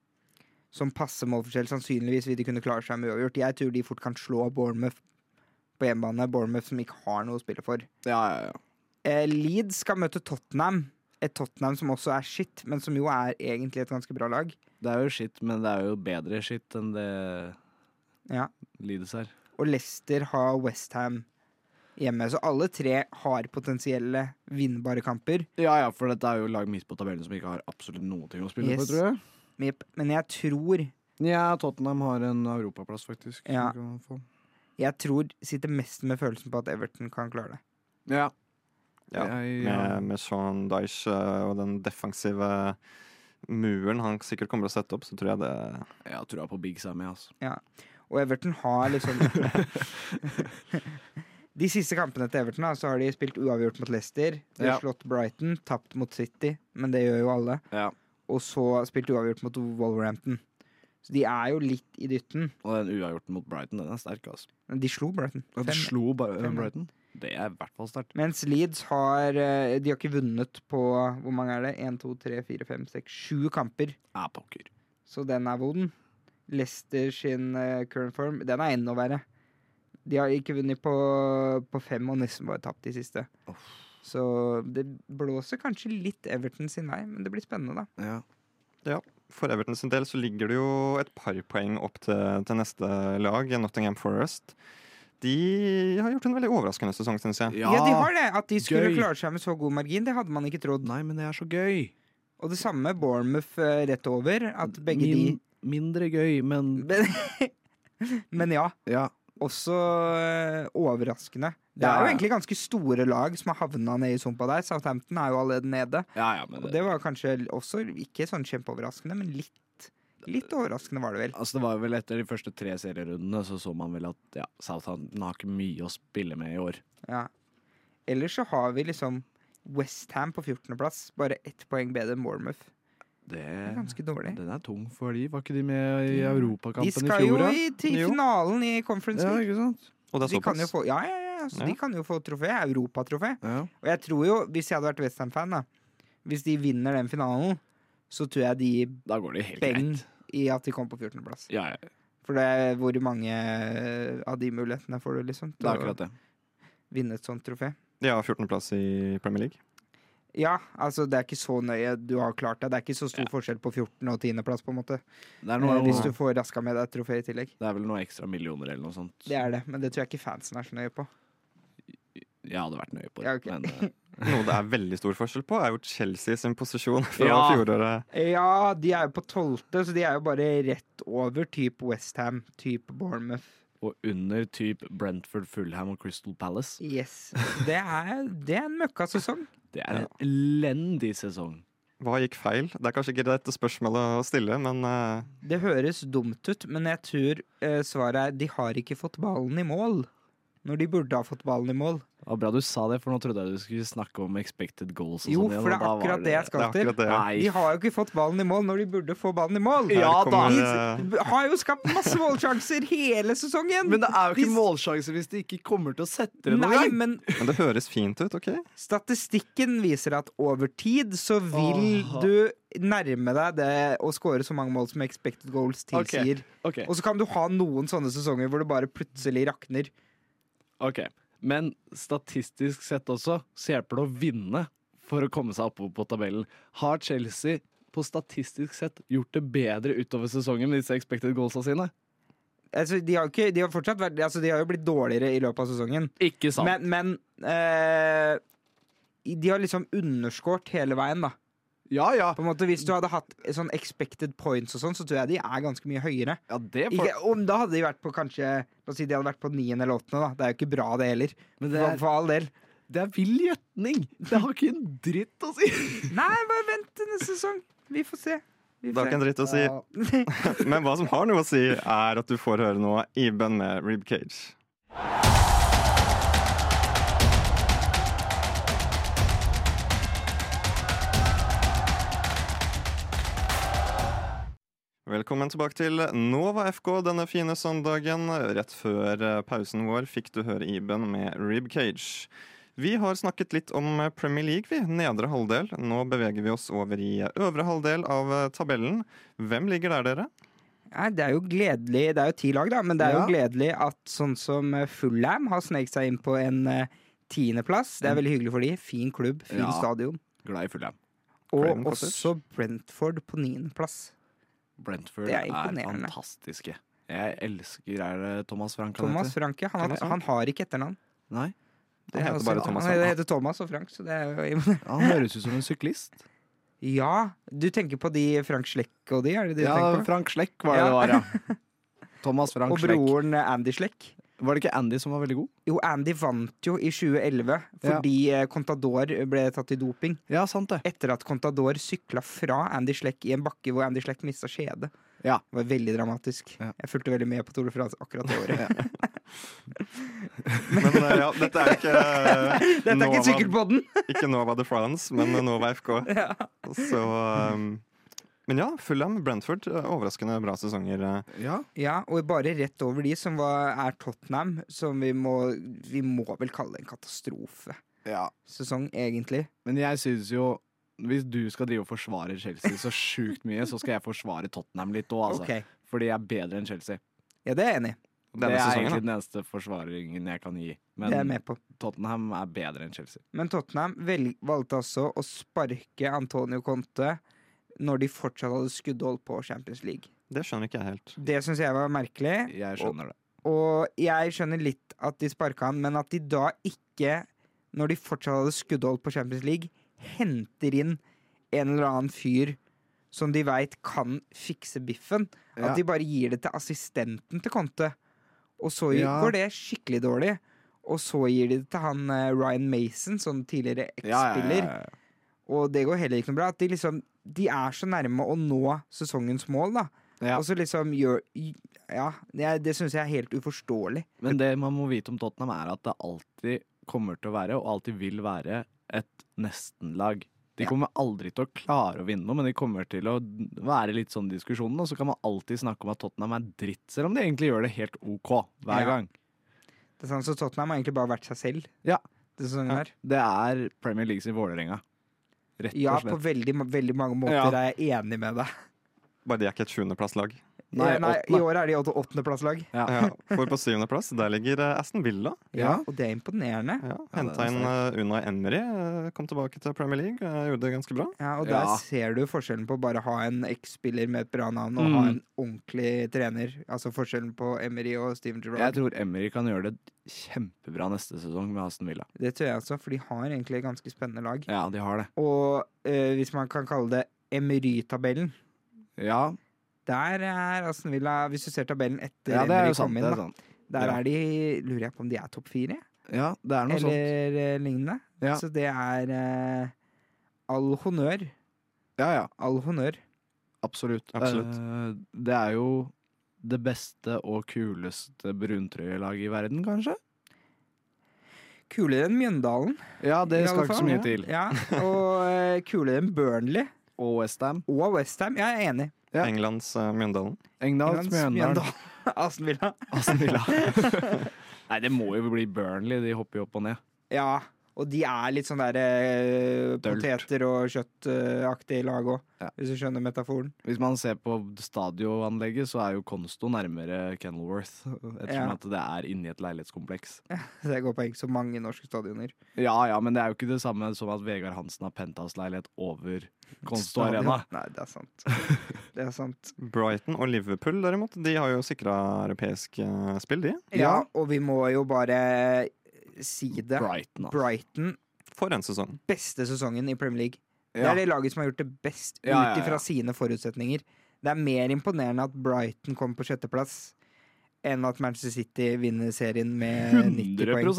som passe målforskjell sannsynligvis vil de kunne klare seg med uavgjort. Jeg tror de fort kan slå Bournemouth på hjemmebane. Bournemouth som ikke har noe å spille for.
Ja, ja, ja.
Eh, Leeds skal møte Tottenham. Et Tottenham som også er shit, men som jo er egentlig et ganske bra lag.
Det er jo skitt, men det er jo bedre skitt enn det
Ja.
Leeds her.
Og Leicester har Westham hjemme. Så alle tre har potensielle vinnbare kamper.
Ja, ja, for dette er jo lag midt på tabellen som ikke har absolutt noen ting å spille
Yes.
for, tror jeg.
Men jeg- Men jeg tror
Ja, Tottenham har en europaplass, faktisk. som
Ja.
de kan få.
Jeg tror sitter mest med følelsen på at Everton kan klare det.
ja.
Ja,
Jeg, ja.
Med, med Sean Dyche eh, og den defensive muren han sikkert kommer til å sette opp, så tror jeg det
jeg tror jeg på Big Sammy, altså.
Og Everton har liksom De siste kampene til Everton da, så har de spilt uavgjort mot Leicester. De har
Ja.
slått Brighton, tapt mot City, men det gjør jo alle.
Ja.
Og så spilt uavgjort mot Wolverhampton. Så de er jo litt i dytten.
Og den uavgjorten mot Brighton, den er sterk, altså.
Men De slo Brighton.
Ja, de
Fem-
slo bare
fem-
Brighton. Det er i hvert fall sterkt.
Mens Leeds har eh, De har ikke vunnet på Hvor mange er det? 1, 2, 3, 4, 5, 6, 7 kamper.
Ja, pokker.
Så den er vond. Leicester sin eh, current form, den er enda verre. De har ikke vunnet på, på fem og nesten bare tapt de siste. Så det blåser kanskje litt Everton sin vei, men det blir spennende, da.
Ja.
For Everton sin del så ligger det jo et par poeng opp til, til neste lag, Nottingham Forest. De har gjort en veldig overraskende sesong, syns jeg.
Ja, de har det! At de skulle
gøy.
klare seg med så god margin, det hadde man ikke trodd.
Nei, men det er så gøy.
Og det samme Bournemouth eh, rett over. At begge
Min, mindre gøy, men
de Men- Men ja,
ja.
også eh, overraskende. Det er
Ja.
jo egentlig ganske store lag som har havna nede i sumpa der. Southampton er jo allerede nede.
Ja, ja, men
Og det var kanskje også ikke sånn kjempeoverraskende, men litt. Litt overraskende var det vel.
Altså Det var vel etter de første tre serierundene så så man vel at ja, Southampton har ikke mye å spille med i år.
Ja. Ellers så har vi liksom Westham på 14.-plass, bare ett poeng bedre enn Bournemouth.
Det,
Det er ganske dårlig.
Den er tung for de. Var ikke de med i
De
Europakampen i
skal jo
fjor? da?
i, til
Jo.
finalen i Conference
Ja,
League.
ikke sant?
Og det er
De kan jo
såpass.
få, ja, ja, ja, så de
Ja.
kan jo få trofé. Europatrofé.
Ja.
Og jeg tror jo, hvis jeg hadde vært Westham-fan, da Hvis de vinner den finalen, så tror jeg de gir
Da går det helt
beng
greit.
i at de kom på 14.-plass.
Ja, ja,
For det er hvor mange eh, av de mulighetene får du, liksom,
det
til
er
å
akkurat det.
vinne et sånt trofé.
De har 14.-plass i Premier League.
Ja, altså det er ikke så nøye du har klart deg. Det er ikke så stor forskjell på 14. og 10. plass, på en måte.
Det er,
Eh,
noe,
hvis du får raska med deg et trofé i tillegg.
det er vel noe ekstra millioner eller noe sånt.
Det er det, men det tror jeg ikke fansen er så nøye på.
Jeg hadde vært nøye på det.
Ja, ok.
men, eh,
Noe det er veldig stor forskjell på, er jo Chelsea sin posisjon fra
Ja.
fjoråret.
Eh, Ja, de er jo på tolvte, så de er jo bare rett over type Westham, type Bournemouth.
og under type Brentford, Fulham og Crystal Palace.
Yes. Det er, det er en møkkasesong.
Det er en elendig sesong.
Hva gikk feil? Det er kanskje ikke dette spørsmålet å stille, men eh,
Det høres dumt ut, men jeg tror eh, svaret er de har ikke fått ballen i mål. Når de burde ha fått ballen i mål.
Det var bra du sa det, for nå trodde jeg du skulle snakke om expected goals. Og
Jo,
sånn igjen,
for det er
og da var
akkurat det jeg
det er
skal til.
akkurat det. ja.
Nei,
De har jo ikke fått ballen i mål når de burde få ballen i mål.
Her
Ja, da.
kommer, eh,
De har jo skapt masse målsjanser hele sesongen!
Men det er jo ikke
De-
målsjanse hvis de ikke kommer til å sette det noen
Nei,
gang.
men
Men det høres fint ut, OK?
statistikken viser at over tid så vil
Åh.
du nærme deg det å skåre så mange mål som expected goals tilsier.
Ok,
Og så kan du ha noen sånne sesonger hvor det bare plutselig rakner.
ok. Men statistisk sett også, så hjelper det å vinne for å komme seg oppover på tabellen. Har Chelsea på statistisk sett gjort det bedre utover sesongen med disse expected goalsa sine?
Altså, de, har ikke, de, har fortsatt vært, altså, de har jo blitt dårligere i løpet av sesongen,
Ikke sant.
men, men eh, de har liksom underskåret hele veien, da.
ja, ja.
På en måte, hvis du hadde hatt sånn expected points og sånn, så tror jeg de er ganske mye høyere.
ja det får...
Ikke, om da hadde de vært på kanskje La oss si de hadde vært på niende eller åttende, da. Det er jo ikke bra, det heller.
Men det
For,
er,
for all del.
det er vill gjetning. Det har ikke en dritt å si.
Nei, bare vent til neste sesong. Vi får se. Vi
Det har ikke en dritt å si.
si.
Men hva som har noe å si, er at du får høre noe i band med Rib Cage. Velkommen tilbake til Nova FK denne fine søndagen. Rett før eh, pausen vår fikk du høre Iben med Rib Cage. Vi har snakket litt om eh, Premier League, vi. Nedre halvdel. Nå beveger vi oss over i øvre halvdel av eh, tabellen. Hvem ligger der, dere?
Nei, det er jo gledelig Det er jo ti lag, da, men det er
Ja.
jo gledelig at sånn som eh, Fulham har sneket seg inn på en eh, tiendeplass. Det er veldig hyggelig for de. Fin klubb, fin
Mm. Ja.
stadion.
Glad i Fulham.
Og
Craven Cottage.
også Brentford på niendeplass.
Brentford
Det er
er,
imponerende.
fantastiske. Jeg elsker Er det Thomas Frank han
Thomas
heter?
Franke. Han,
Eller-
har- han har ikke etternavn.
Nei.
Han
Det er
heter
også-
bare Thomas
Han
Frank.
heter Thomas og Frank, så det er jo imponerende.
Han høres ut som en syklist.
Ja, du tenker på de Frank Slekk og de, er det de du
Ja,
tenker på?
Frank Slekk var det
Ja.
det var, ja. Thomas Frank
og
Slekk.
broren eh, Andy Slekk.
Var det ikke Andy som var veldig god?
Jo, Andy vant jo i 2011
Ja.
fordi eh, Contador ble tatt i doping.
Ja, sant det.
Etter at Contador sykla fra Andy Slekk i en bakke hvor Andy Slekk mista skjedet.
Ja.
Det var veldig dramatisk.
Ja.
Jeg fulgte veldig med på Tour de France akkurat det året.
Men eh, ja, dette er ikke
Dette er ikke sikkert på den!
Ikke Nova de France, men Nova FK. Så um, Men ja, Fulham, Brentford. eh, Overraskende bra sesonger. eh.
Ja.
Ja, og bare rett over de som var, er Tottenham, som vi må, vi må vel kalle en katastrofesesong,
ja.
egentlig.
Men jeg synes jo hvis du skal drive og forsvare Chelsea så sjukt mye, så skal jeg forsvare Tottenham litt òg, altså.
Ok.
Fordi jeg er bedre enn Chelsea.
Ja, det er jeg enig i.
Denne
det er
sesongen, da.
egentlig den eneste forsvaringen jeg kan gi.
Det er jeg
Men
med på.
Tottenham er bedre enn Chelsea.
Men Tottenham vel, valgte altså å sparke Antonio Conte når de fortsatt hadde skuddhold på Champions League.
Det skjønner ikke jeg helt.
Det syns jeg var merkelig,
Jeg skjønner det.
og jeg skjønner litt at de sparka han, men at de da ikke, når de fortsatt hadde skuddhold på Champions League, henter inn en eller annen fyr som de veit kan fikse biffen. At
Ja.
de bare gir det til assistenten til Conte. Og så
Ja.
går det skikkelig dårlig. Og så gir de det til han eh, Ryan Mason, som tidligere X-spiller. Og det går heller ikke noe bra. At de liksom De er så nærme å nå sesongens mål, da.
Ja.
Og så liksom gjør Ja, det, er- det syns jeg er helt uforståelig.
Men det man må vite om Tottenham, er at det alltid kommer til å være, og alltid vil være, et nestenlag. De
Ja.
kommer aldri til å klare å vinne noe, men de kommer til å være litt sånn i diskusjonen. Og så kan man alltid snakke om at Tottenham er dritt, selv om de egentlig gjør det helt OK hver
Ja.
gang.
Det er sånn, så Tottenham har egentlig bare vært seg selv.
Ja.
Det sesongen her.
Det er Premier League sin Vålerenga. Rett
Ja,
og
på
slett.
veldig, ma- veldig mange måter
Ja.
er jeg enig med deg.
Bare de er ikke et sjuendeplasslag.
Nei,
Eh, Nei, I
åttende.
år er de åtte- åttendeplasslag.
Ja, for på syvendeplass der ligger eh, Aston Villa.
Ja.
Og det er imponerende.
Ja,
Ja, det er
Henta inn eh, Unai Emery. eh, Kom tilbake til Premier League. eh, Gjorde det ganske bra.
Ja, og der
Ja.
ser du forskjellen på bare å ha en X-spiller med et bra navn og
Mm.
ha en ordentlig trener. Altså forskjellen på Emery og Steven
Jeg
Gerrard.
tror Emery kan gjøre det kjempebra neste sesong med Aston Villa.
Det tror jeg også, for de har egentlig et ganske spennende lag.
Ja, de har det.
Og eh, hvis man kan kalle det Emery-tabellen
Ja,
Der er Aston Villa, hvis du ser tabellen etter
ja det er
Emery
jo sant.
kom inn,
Det er
da,
sant.
der
Ja.
er de Lurer jeg på om de er topp fire,
Ja, det er noe
eller
sånt.
eh, lignende.
Ja.
Så det er eh, all honnør.
Ja, ja.
All honnør.
Absolutt.
Absolutt.
Eh, det er jo det beste og kuleste bruntrøyelaget i verden, kanskje?
Kulere enn Mjøndalen,
Ja,
I
det
alle
skal ikke
fall,
så mye til.
ja. Og eh, kulere enn Burnley.
Og Westham.
og Westham. Jeg er enig.
Ja.
Englands eh, Mjøndalen.
England,
Englands
Mjøndalen,
Mjøndalen. Aston Villa.
Aston Villa. Nei, det må jo bli Burnley. De hopper jo opp og ned.
Ja, og de er litt sånn der eh,
Dølt.
poteter og kjøttaktig lag òg,
Ja.
hvis du skjønner metaforen.
Hvis man ser på stadionanlegget, så er jo Konsto nærmere Kenilworth. Ettersom
Ja.
at det er inni et leilighetskompleks.
Så Det går poeng så mange norske stadioner.
Ja ja, men det er jo ikke det samme som at Vegard Hansen har penthouse-leilighet over Konsto
Stadion.
Arena.
Nei, det er sant. Det er sant.
Brighton og Liverpool derimot, de har jo sikra europeisk eh, spill, de.
Ja, og vi må jo bare si det.
Brighton, altså.
Brighton,
For en sesong.
beste sesongen i Premier League. Det
Ja.
er det laget som har gjort det best
Ja, ja,
ut ifra
ja.
sine forutsetninger. Det er mer imponerende at Brighton kom på sjetteplass enn at Manchester City vinner serien med 90 poeng.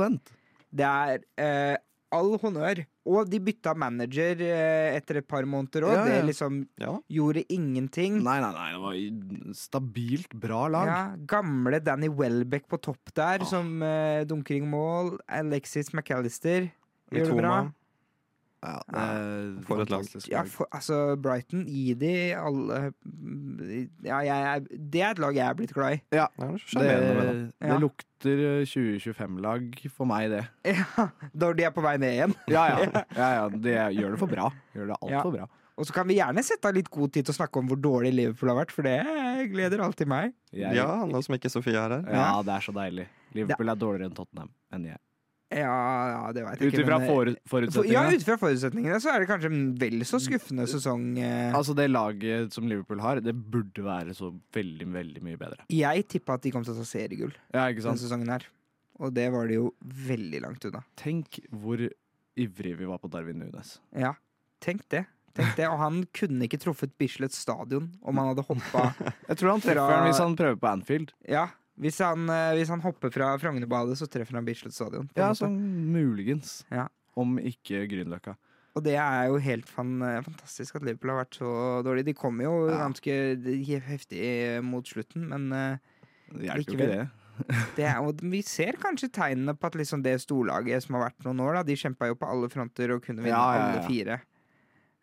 100
Det er eh, all honnør. Og de bytta manager eh, etter et par måneder òg.
Ja, ja.
Det liksom
Ja.
gjorde ingenting.
Nei, nei, nei, det var i- stabilt bra lag.
Ja, gamle Danny Welbeck på topp der,
Ah.
som eh, dunker i mål. Alexis McAllister gjør det bra.
Mitoma.
Ja, det er
For et lag.
fantastisk
Ja, for, altså, Brighton, gi de alle mm, Ja, jeg, er- det er et lag jeg er blitt glad i.
Det er sjarmerende med det.
det,
Ja.
det lukter 2025-lag for meg, det.
Ja, når de er på vei ned igjen.
Ja ja, ja, ja det gjør det for bra. Gjør det
Ja.
altfor bra.
Og så kan vi gjerne sette av litt god tid til å snakke om hvor dårlig Liverpool har vært, for det gleder alltid meg.
Jeg,
Ja, nå som ikke Sofie er her.
ja, det er så deilig. Liverpool er dårligere enn Tottenham. enn jeg.
Ja, ja det veit jeg
Ut ifra
men- eh, For-
for,
Ja,
forutsetningene.
ut fra forutsetningene så er det kanskje en vel så
Mm.
skuffende sesong. eh.
Altså Det laget som Liverpool har, det burde være så veldig veldig mye bedre.
Jeg tippa at de kom til å ta seriegull
Ja, ikke
denne
sant?
sesongen her. Og det var det jo veldig langt unna.
Tenk hvor ivrig vi var på Darwin Nunes.
Ja, tenk det. Tenk det. Og han kunne ikke truffet Bislett stadion om han hadde hoppa
Jeg tror han treffer
Fra-
den hvis han prøver på Anfield.
Ja, hvis han, eh, hvis han hopper fra Frognerbadet, så treffer han Bislett stadion. på en
Ja,
måte.
sånn muligens.
Ja.
Om ikke Grünerløkka.
Og det er jo helt fan, eh, fantastisk at Liverpool har vært så dårlig. De kom jo
Ja.
ganske heftig mot slutten, men eh,
Det hjelper jo
Likevel.
ikke det.
Det er, og vi ser kanskje tegnene på at liksom det storlaget som har vært noen år, da, de kjempa jo på alle fronter og kunne vinne
Ja, ja, ja.
alle fire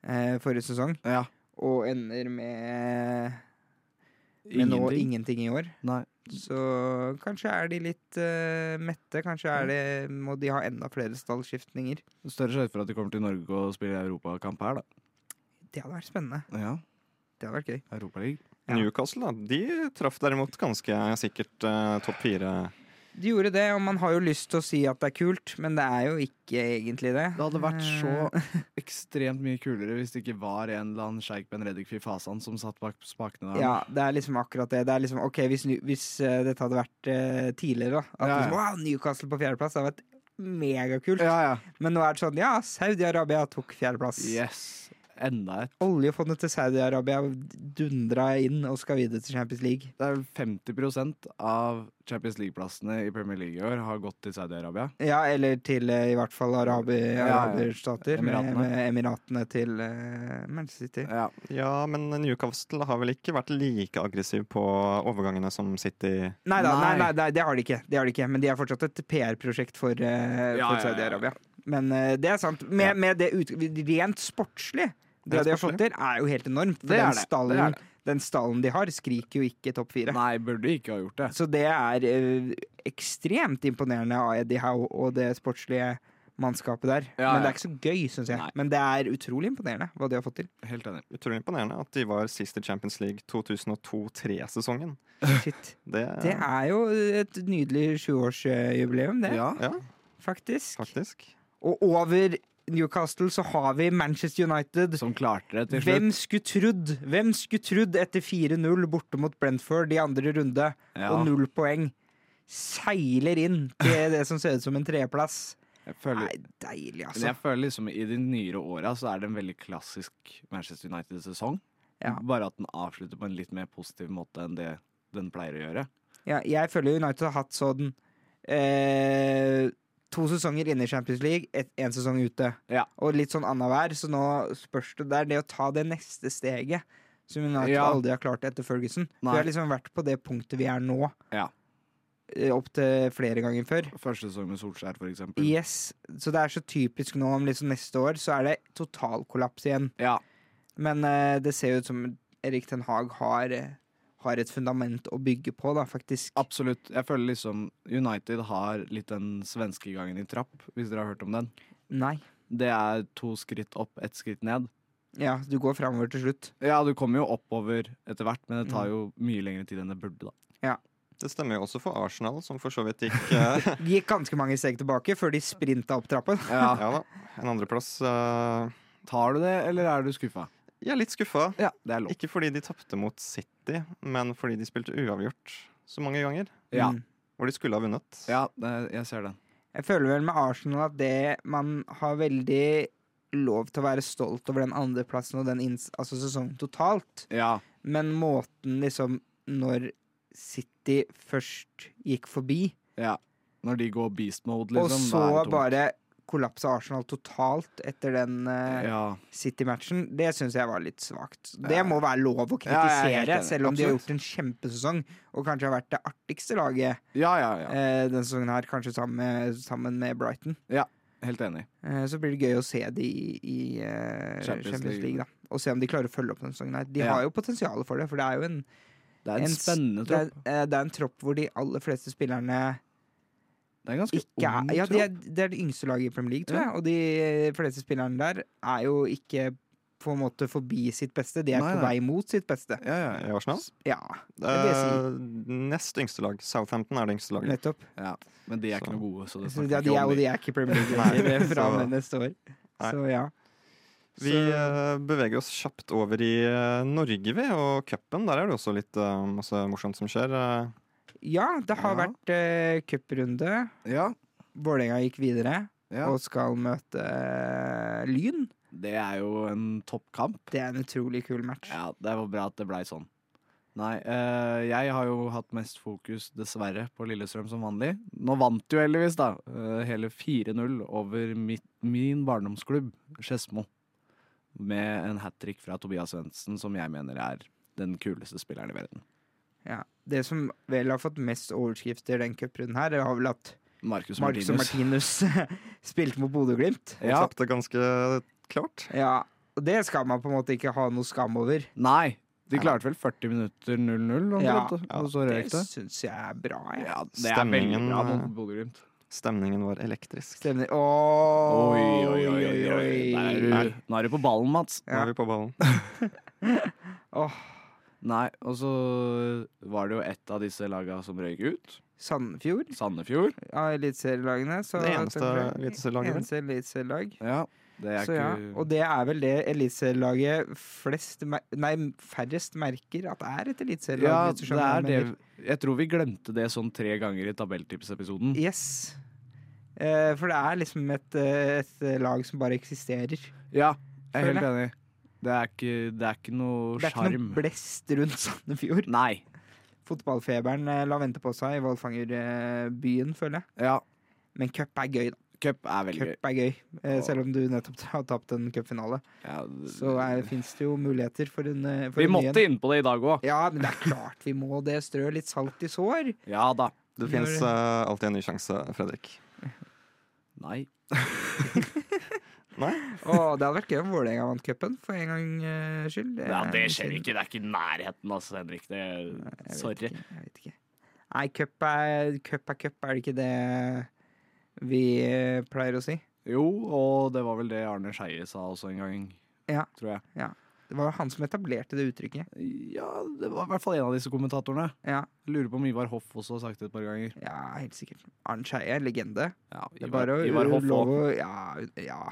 eh, forrige sesong.
Ja.
og ender med med nå
Ingenting.
ingenting i år.
Nei.
Så kanskje er de litt eh, mette. Kanskje er det, må de ha enda flere stallskiftninger.
Større sjanse for at de kommer til Norge og spiller europakamp her, da.
Det hadde vært spennende.
Ja,
Det hadde vært gøy.
Europaligaen.
Ja.
Newcastle da, de traff derimot ganske sikkert eh, topp fire.
De gjorde det, og man har jo lyst til å si at det er kult, men det er jo ikke egentlig det. Eh,
Det hadde vært så ekstremt mye kulere hvis det ikke var en eller annen sjeik Ben Reddik Fy Fasan som satt bak spakene der.
Ja, det er liksom akkurat det. Det er liksom, ok, Hvis, New- hvis eh, dette hadde vært eh, tidligere, da At
Ja, ja.
liksom, wow, Newcastle på fjerdeplass hadde vært megakult.
ja, ja.
Men nå er det sånn, ja, Saudi-Arabia tok fjerdeplass.
Yes. Enda et.
Oljefondet til Saudi-Arabia dundra inn og skal videre til Champions League.
Det er vel 50 av Champions League-plassene i Premier League i år har gått til Saudi-Arabia.
Ja, eller til eh, i hvert fall arabi,
ja, ja.
araberstater.
Emiratene.
Med, med Emiratene til eh, Manchester City.
Ja.
Ja, men Newcastle har vel ikke vært like aggressiv på overgangene som City.
Nei da, nei.
Nei.
Nei, nei, det har de ikke. Det har de ikke. Men de er fortsatt et PR-prosjekt for, eh,
Ja,
for
ja, ja.
Saudi-Arabia. Men eh, det er sant. Med,
Ja.
med det ut, rent sportslig, det
Rent
de har fått
sportslig.
til, er jo helt enormt. For
Det er
den,
det. Det
Stallen,
er det.
den stallen de har, skriker jo ikke topp fire.
Nei, burde ikke ha gjort det.
Så det er eh, ekstremt imponerende av Eddie Howe og det sportslige mannskapet der.
Ja,
Men det
ja.
er ikke så gøy, syns jeg.
Nei.
Men det er utrolig imponerende hva de har fått til.
Helt enig.
Utrolig imponerende at de var sist i Champions League 2002-2003-sesongen.
Shit.
Det,
Det er jo et nydelig sjuårsjubileum, det.
Ja.
Ja,
Faktisk.
faktisk.
Og over Newcastle så har vi Manchester United.
Som klarte det til slutt.
Hvem skulle trodd Hvem skulle trodd etter 4-0 borte mot Brentford i andre runde,
Ja.
og null poeng, seiler inn til det som ser ut som en treplass?
Jeg føler,
Nei, deilig,
men
altså.
jeg føler liksom i de nyere åra så er det en veldig klassisk Manchester United-sesong.
Ja.
Bare at den avslutter på en litt mer positiv måte enn det den pleier å gjøre.
Ja, jeg føler United har hatt sånn eh, To sesonger inne i Champions League, én sesong ute.
Ja.
Og litt sånn annenhver, så nå spørs det der. Det å ta det neste steget, som United
Ja.
aldri har klart etter Ferguson.
Nei.
Vi har liksom vært på det punktet vi er nå,
Ja.
opptil flere ganger før.
Første sesong med Solskjær, for eksempel.
Yes, Så det er så typisk nå om liksom neste år så er det totalkollaps igjen.
Ja.
Men eh, det ser jo ut som Erik Ten Hag har, eh, har et fundament å bygge på, da, faktisk.
Absolutt. Jeg føler liksom United har litt den svenske gangen i trapp, hvis dere har hørt om den.
Nei.
Det er to skritt opp, ett skritt ned.
Ja, du går framover til slutt.
Ja, du kommer jo oppover etter hvert, men det tar jo mye lengre tid enn det burde, da.
Det stemmer jo også for Arsenal, som for så vidt gikk eh,
De gikk ganske mange steg tilbake før de sprinta opp trappen.
Ja da, en andreplass. eh,
Tar du det, eller er du skuffa?
jeg er litt skuffa.
Ja, det er lov.
Ikke fordi de tapte mot City, men fordi de spilte uavgjort så mange ganger.
Ja,
Mm.
Hvor de skulle ha vunnet.
ja det- jeg ser den.
Jeg føler vel med Arsenal at det man har veldig lov til å være stolt over den andreplassen og den inns altså sesongen totalt,
Ja.
men måten liksom når City først gikk forbi,
ja. Når de går beast mode,
og
liksom. da er det
så
tungt.
bare kollapsa Arsenal totalt etter den eh,
Ja.
City-matchen, det syns jeg var litt svakt. Det
Ja.
må være lov å
Ja,
kritisere,
jeg er helt enig.
selv om de har
Absolutt.
gjort en kjempesesong og kanskje har vært det artigste laget
ja, ja, ja.
eh, denne sesongen her, kanskje sammen med, sammen med Brighton.
Helt enig.
Eh, så blir det gøy å se de i, i eh,
Champions
Champions,
League.
League, da. Og se om de klarer å følge opp denne sesongen her. De
Ja.
har jo potensial for det, for det er jo en,
Det er en,
en s-
spennende
det er,
tropp.
eh, det er en tropp hvor de aller fleste spillerne
Det er en ganske
ikke
ung
er Ja,
tropp.
de er, det er det yngste laget i Premier League, tror
Ja.
jeg. Og de eh, fleste spillerne der er jo ikke på en måte forbi sitt beste, de er
Nei,
på
nei.
vei mot sitt beste.
Ja, ja,
I
ja.
Arsenal.
Ja, det vil jeg si.
Eh, nest yngste lag. Southampton er det yngste laget.
Nettopp.
Men de er
Så-
ikke noe gode, så det
Så
snakker
ja, de, er,
vi ikke om
og
de.
de er ikke i Premier League
Nei,
fra og
så-
med neste år.
Nei.
Så ja.
Vi eh, beveger oss kjapt over i eh, Norge, vi, og cupen. Der er det også litt eh, masse morsomt som skjer. eh.
Ja, det har
Ja.
vært uh, cuprunde.
Ja,
Vålerenga gikk videre
ja.
og skal møte eh, Lyn.
Det er jo en toppkamp.
Det er en utrolig kul match.
Ja, det var bra at det blei sånn. Nei, eh, jeg har jo hatt mest fokus, dessverre, på Lillestrøm som vanlig. Nå vant jo heldigvis, da. eh, hele 4-0 over mitt, min barndomsklubb, Skedsmo. Med en hat trick fra Tobias Svendsen, som jeg mener er den kuleste spilleren i verden.
Ja. Det som vel har fått mest overskrifter den cuprunden her, det var vel at
Marcus
Marcus og
Martinus.
Martinus spilte mot Bodø-Glimt.
Og
Ja,
tapte ganske klart.
Ja, Og det skal man på en måte ikke ha noe skam over.
Nei. De klarte vel 40 minutter 0-0,
Ja.
omtrent, da, og så røyk
Det
det.
syns jeg er bra. Jeg.
Ja, det er veldig
Stemningen,
bra
eh,
mot Bodø-Glimt.
Stemningen var elektrisk.
Stemmer. Oi,
Der er du- Nå er du på ballen, Mats.
Nå er vi på ballen.
Åh,
Nei, og så var det jo ett av disse laga som røyk ut.
Sandefjord
Sandefjord.
av eliteserielagene. så-
Det eneste
tenker jeg-
eliteserielaget, vel?
Eneste eliteserielag.
Ja, det er
Så ja,
ikke
og det er vel det eliteserielaget flest mer- Nei, færrest merker at det er et eliteserielag.
Ja,
hvis du
det
skjønner hva
er
jeg
det.
mener.
Jeg tror vi glemte det sånn tre ganger i tabelltipsepisoden.
Yes. Eh, for det er liksom et, eh, et lag som bare eksisterer.
Ja, jeg er helt
Føler
enig. Det er ikke, det er ikke noe
Det er ikke
sjarm.
noe blest rundt Sandefjord.
Nei.
Fotballfeberen eh, la vente på seg i Valfangerbyen, føler jeg.
Ja,
Men cup er gøy, da.
cup er veldig gøy.
Cup er gøy. Eh, selv om du nettopp har tapt en cupfinale,
Ja,
så fins det jo muligheter for en eh, for
Mm. vi
en ny en.
måtte inn på det i dag òg.
Ja, men det er klart vi må det. Strø litt salt i sår.
Ja da.
Det
Gjør
fins
det.
alltid en ny sjanse, Fredrik.
Nei.
Nei?
Å, det hadde vært gøy om Vålerenga vant cupen, for en gangs eh, skyld.
Ja, det
er
skjer
synd.
ikke. Det er ikke i nærheten, altså, Henrik. Det,
Jeg vet
sorry.
ikke, Jeg vet ikke. Nei, cup er cup, er cup, er det ikke det vi eh, pleier å si?
Jo, og det var vel det Arne Skeie sa også en gang.
Ja.
Tror jeg.
Det var jo han som etablerte det uttrykket.
Ja, det var i hvert fall en av disse kommentatorene.
Ja,
Jeg lurer på om Ivar Hoff også har sagt det et par ganger.
ja helt sikkert. Arnt Skeie, legende.
Ja,
Det er
Ivar,
bare å
Ivar Hoff
lov
også.
å Ja, ja.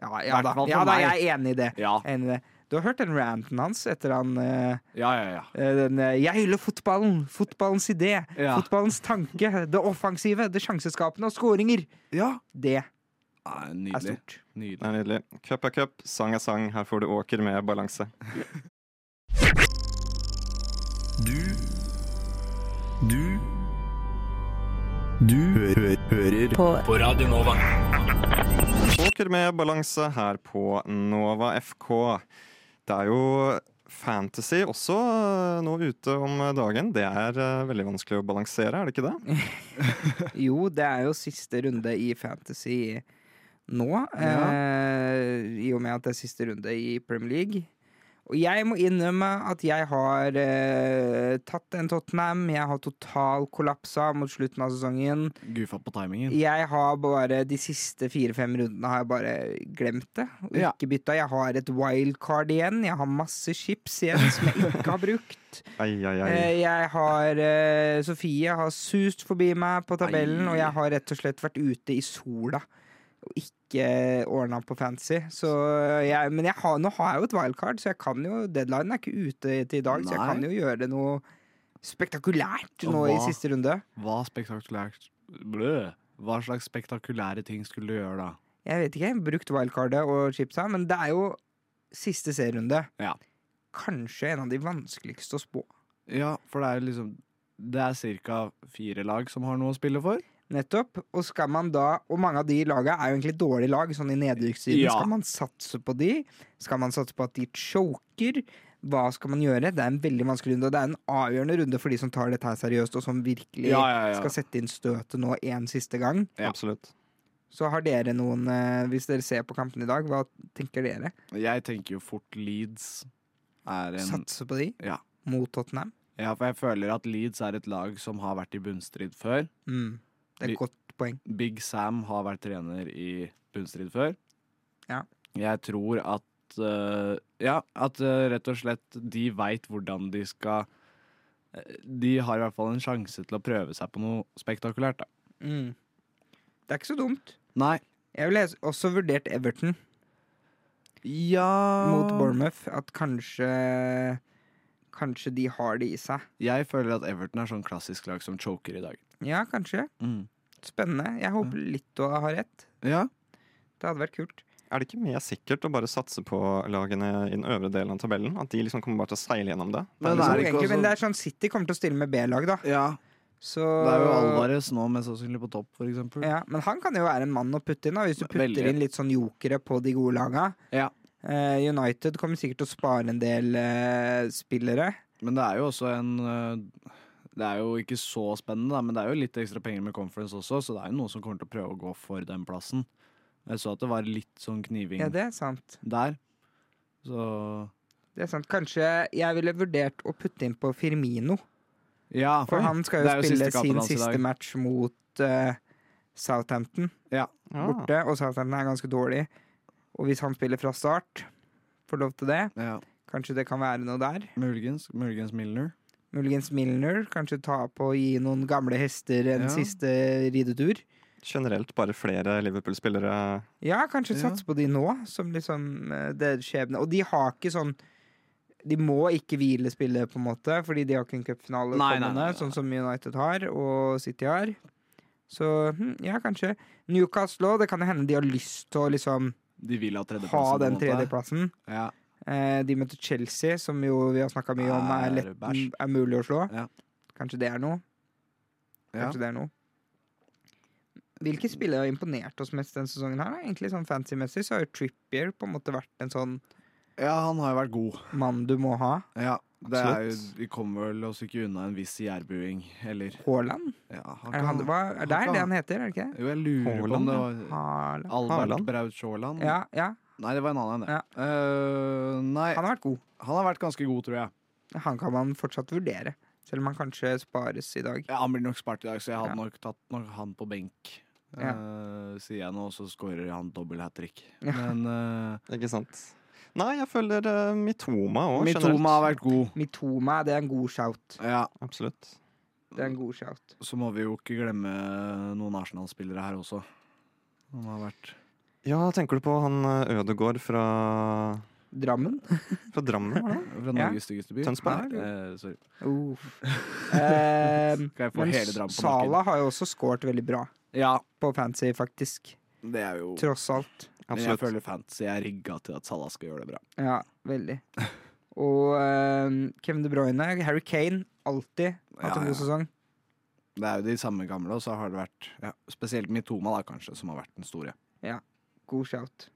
Ja, ja da.
Hvertfall for
Ja, da,
meg.
jeg er enig i det.
Ja,
Jeg er Enig i det. Du har hørt den ranten hans etter han eh,
ja, ja. ja.
eh, den, eh, 'Jeg hyller fotballen! Fotballens idé!
Ja.
Fotballens tanke! Det offensive! Det sjanseskapende! Og skåringer!' Det er
Nei, nydelig.
stort.
Det
nydelig.
er nydelig. Cup er cup, sang er sang. Her får du åker med balanse. Åker med balanse her på Nova FK. Det er jo fantasy også eh, nå ute om dagen. Det er eh, veldig vanskelig å balansere, er det ikke det?
Jo, det er jo siste runde i Fantasy nå. Eh, I og med at det er siste runde i Premier League. Og jeg må innrømme at jeg har eh, tatt en Tottenham. Jeg har total kollapsa mot slutten av sesongen.
Goofa på timingen.
Jeg har bare de siste fire-fem rundene har jeg bare glemt det. Og
Ja.
ikke bytta. Jeg har et wildcard igjen. Jeg har masse chips igjen som jeg ikke har brukt.
Ai, ai, ai.
Eh, Jeg har eh, Sofie har sust forbi meg på tabellen, og jeg har rett og slett vært ute i sola og ikke ordna på fancy. Så eh, jeg, men jeg har, nå har jeg jo et wildcard, så jeg kan jo deadlinen er ikke ute til i dag, så jeg
Nei.
kan jo gjøre noe spektakulært
Og
nå i
hva?
siste runde.
Hva spektakulært Blø. Hva slags spektakulære ting skulle du gjøre da?
Jeg vet ikke, brukt wildcardet og chipsa, men det er jo siste serierunde.
Ja.
Kanskje en av de vanskeligste å spå.
Ja, for det er liksom Det er ca. fire lag som har noe å spille for.
Nettopp. Og skal man da Og mange av de laga er jo egentlig dårlige lag, sånn i nedrykkssiden.
Ja.
Skal man satse på de? Skal man satse på at de choker? Hva skal man gjøre? Det er en veldig vanskelig runde, og det er en avgjørende runde for de som tar dette her seriøst, og som virkelig
Ja, ja, ja.
skal sette inn støtet nå en siste gang.
Ja.
Absolutt.
Så har dere noen eh, Hvis dere ser på kampen i dag, hva tenker dere?
Jeg tenker jo fort Leeds er en
Satse på de?
Ja.
Mot Tottenham?
Ja, for jeg føler at Leeds er et lag som har vært i bunnstrid før.
Mm. Det er
Vi-
et godt poeng.
Big Sam har vært trener i bunnstrid før.
Ja.
Jeg tror at eh, Ja, at eh, rett og slett de veit hvordan de skal eh, De har i hvert fall en sjanse til å prøve seg på noe spektakulært, da.
Mm. Det er ikke så dumt.
Nei.
Jeg ville også vurdert Everton.
Ja
mot Bournemouth at kanskje Kanskje de har det i seg.
Jeg føler at Everton er sånn klassisk lag som choker i dag.
Ja, kanskje. Spennende. Jeg håper Litto har rett.
Ja.
Det hadde vært kult.
Er det ikke mer sikkert å bare satse på lagene i den øvre delen av tabellen? At de liksom kommer bare til å seile gjennom det?
Så
Men er det ikke
egentlig,
også-
men det er sånn City kommer til å stille med B-lag, da.
ja.
Så
Det er jo Alvarez nå mest sannsynlig på topp, for eksempel.
Ja, men han kan jo være en mann å putte inn, da, hvis du putter
Veldig.
inn litt sånn jokere på de gode laga.
Ja.
Eh, United kommer sikkert til å spare en del eh, spillere.
Men det er jo også en øh, Det er jo ikke så spennende, da, men det er jo litt ekstra penger med conference også, så det er jo noen som kommer til å prøve å gå for den plassen. Jeg så at det var litt sånn kniving
Ja, det er sant.
der. Så
Det er sant. Kanskje jeg ville vurdert å putte inn på Firmino.
ja,
For
oi,
han skal
det er
jo spille
siste kampen
sin
hans i dag.
siste match mot eh, Southampton
Ah.
Ja.
borte, og Southampton er ganske dårlig. Og hvis han spiller fra start, får lov til det,
Ja,
kanskje det kan være noe der.
muligens, muligens Milner.
Muligens Milner. Kanskje ta på og gi noen gamle hester en
Ja.
siste ridetur.
Generelt bare flere Liverpool-spillere.
Ja, kanskje
Ja.
satse på de nå, som liksom eh, det er skjebne. Og de har ikke sånn De må ikke hvile spillet, på en måte, fordi de har ikke en cupfinale
Nei, nei, nei,
kommende,
nei.
sånn som United har, og City har. Så hm, ja, kanskje. Newcastle òg. Det kan hende de har lyst til å liksom
De vil ha tredjeplassen.
ha
på en
den
måte.
tredjeplassen.
Ja.
Eh, de møter Chelsea, som jo vi har snakka mye om er,
Er
lett,
bæsj.
er mulig å slå.
Ja.
Kanskje det er noe.
Ja.
Kanskje det er noe. Hvilke spillere har imponert oss mest denne sesongen? her? da? Egentlig sånn Fancy-messig så har jo Trippier på en måte vært en sånn
ja, han har jo vært god.
mann du må ha.
Ja, det er jo,
Absolutt.
vi kommer vel oss ikke unna en viss jærbuing, eller
Haaland?
ja,
Er,
han
det han,
kan-
hva, er det
han kan-
det han heter? er det ikke det?
Jo, jeg lurer på om
Haaland,
det
ja.
var
Haaland.
Albert
Haaland?
Braut Haaland.
Ja, ja,
Nei, det var en annen enn det. Eh, nei,
han
han,
har vært god.
har vært ganske god, tror jeg.
Han kan man fortsatt vurdere, selv om han kanskje spares i dag.
Ja, han blir nok spart i dag, så jeg hadde
Ja.
nok tatt nok han på benk.
Ja.
Eh, sier jeg nå, så scorer han dobbel hat trick.
Ja.
Men eh,
Ikke sant? Nei, jeg føler eh, Mitoma òg.
Mitoma har vært god.
Mitoma, det er en god shout.
Ja,
Absolutt.
Det er en god shout.
Så må vi jo ikke glemme noen Arsenal-spillere her også. Han har vært
Ja, tenker du på han eh, Ødegaard fra,
Drammen?
fra Drammen? var det han?
fra Norges styggeste by.
Tønsberg?
Nei, eh, sorry.
Uff. Eh,
Skal jeg få
men
hele Drammen på nakken?
Sala har jo også scoret veldig bra
Ja,
på fancy, faktisk.
det er jo
Tross alt.
Men jeg
Absolutt.
føler fantasy er rigga til at Salah skal gjøre det bra.
Ja, veldig. Og eh, Kevin De Bruyne, Harry Kane, alltid hatt
Ja,
en
ja.
god sesong.
Det er jo de samme gamle, og så har det vært ja, spesielt Mitoma, da, kanskje, som har vært den store.
God shout.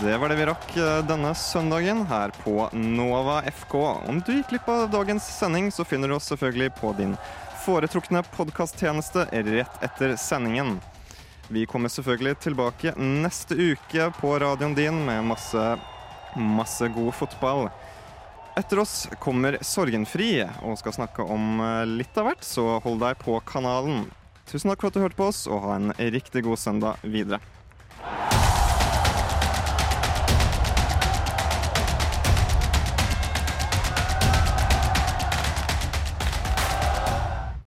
Det var det vi rakk eh, denne søndagen her på Nova FK. Om du gikk glipp av dagens sending, så finner du oss selvfølgelig på din foretrukne podkasttjeneste rett etter sendingen. Vi kommer selvfølgelig tilbake neste uke på radioen din med masse, masse god fotball. Etter oss kommer Sorgenfri og skal snakke om eh, litt av hvert, så hold deg på kanalen. Tusen takk for at du hørte på oss, og ha en riktig god søndag videre.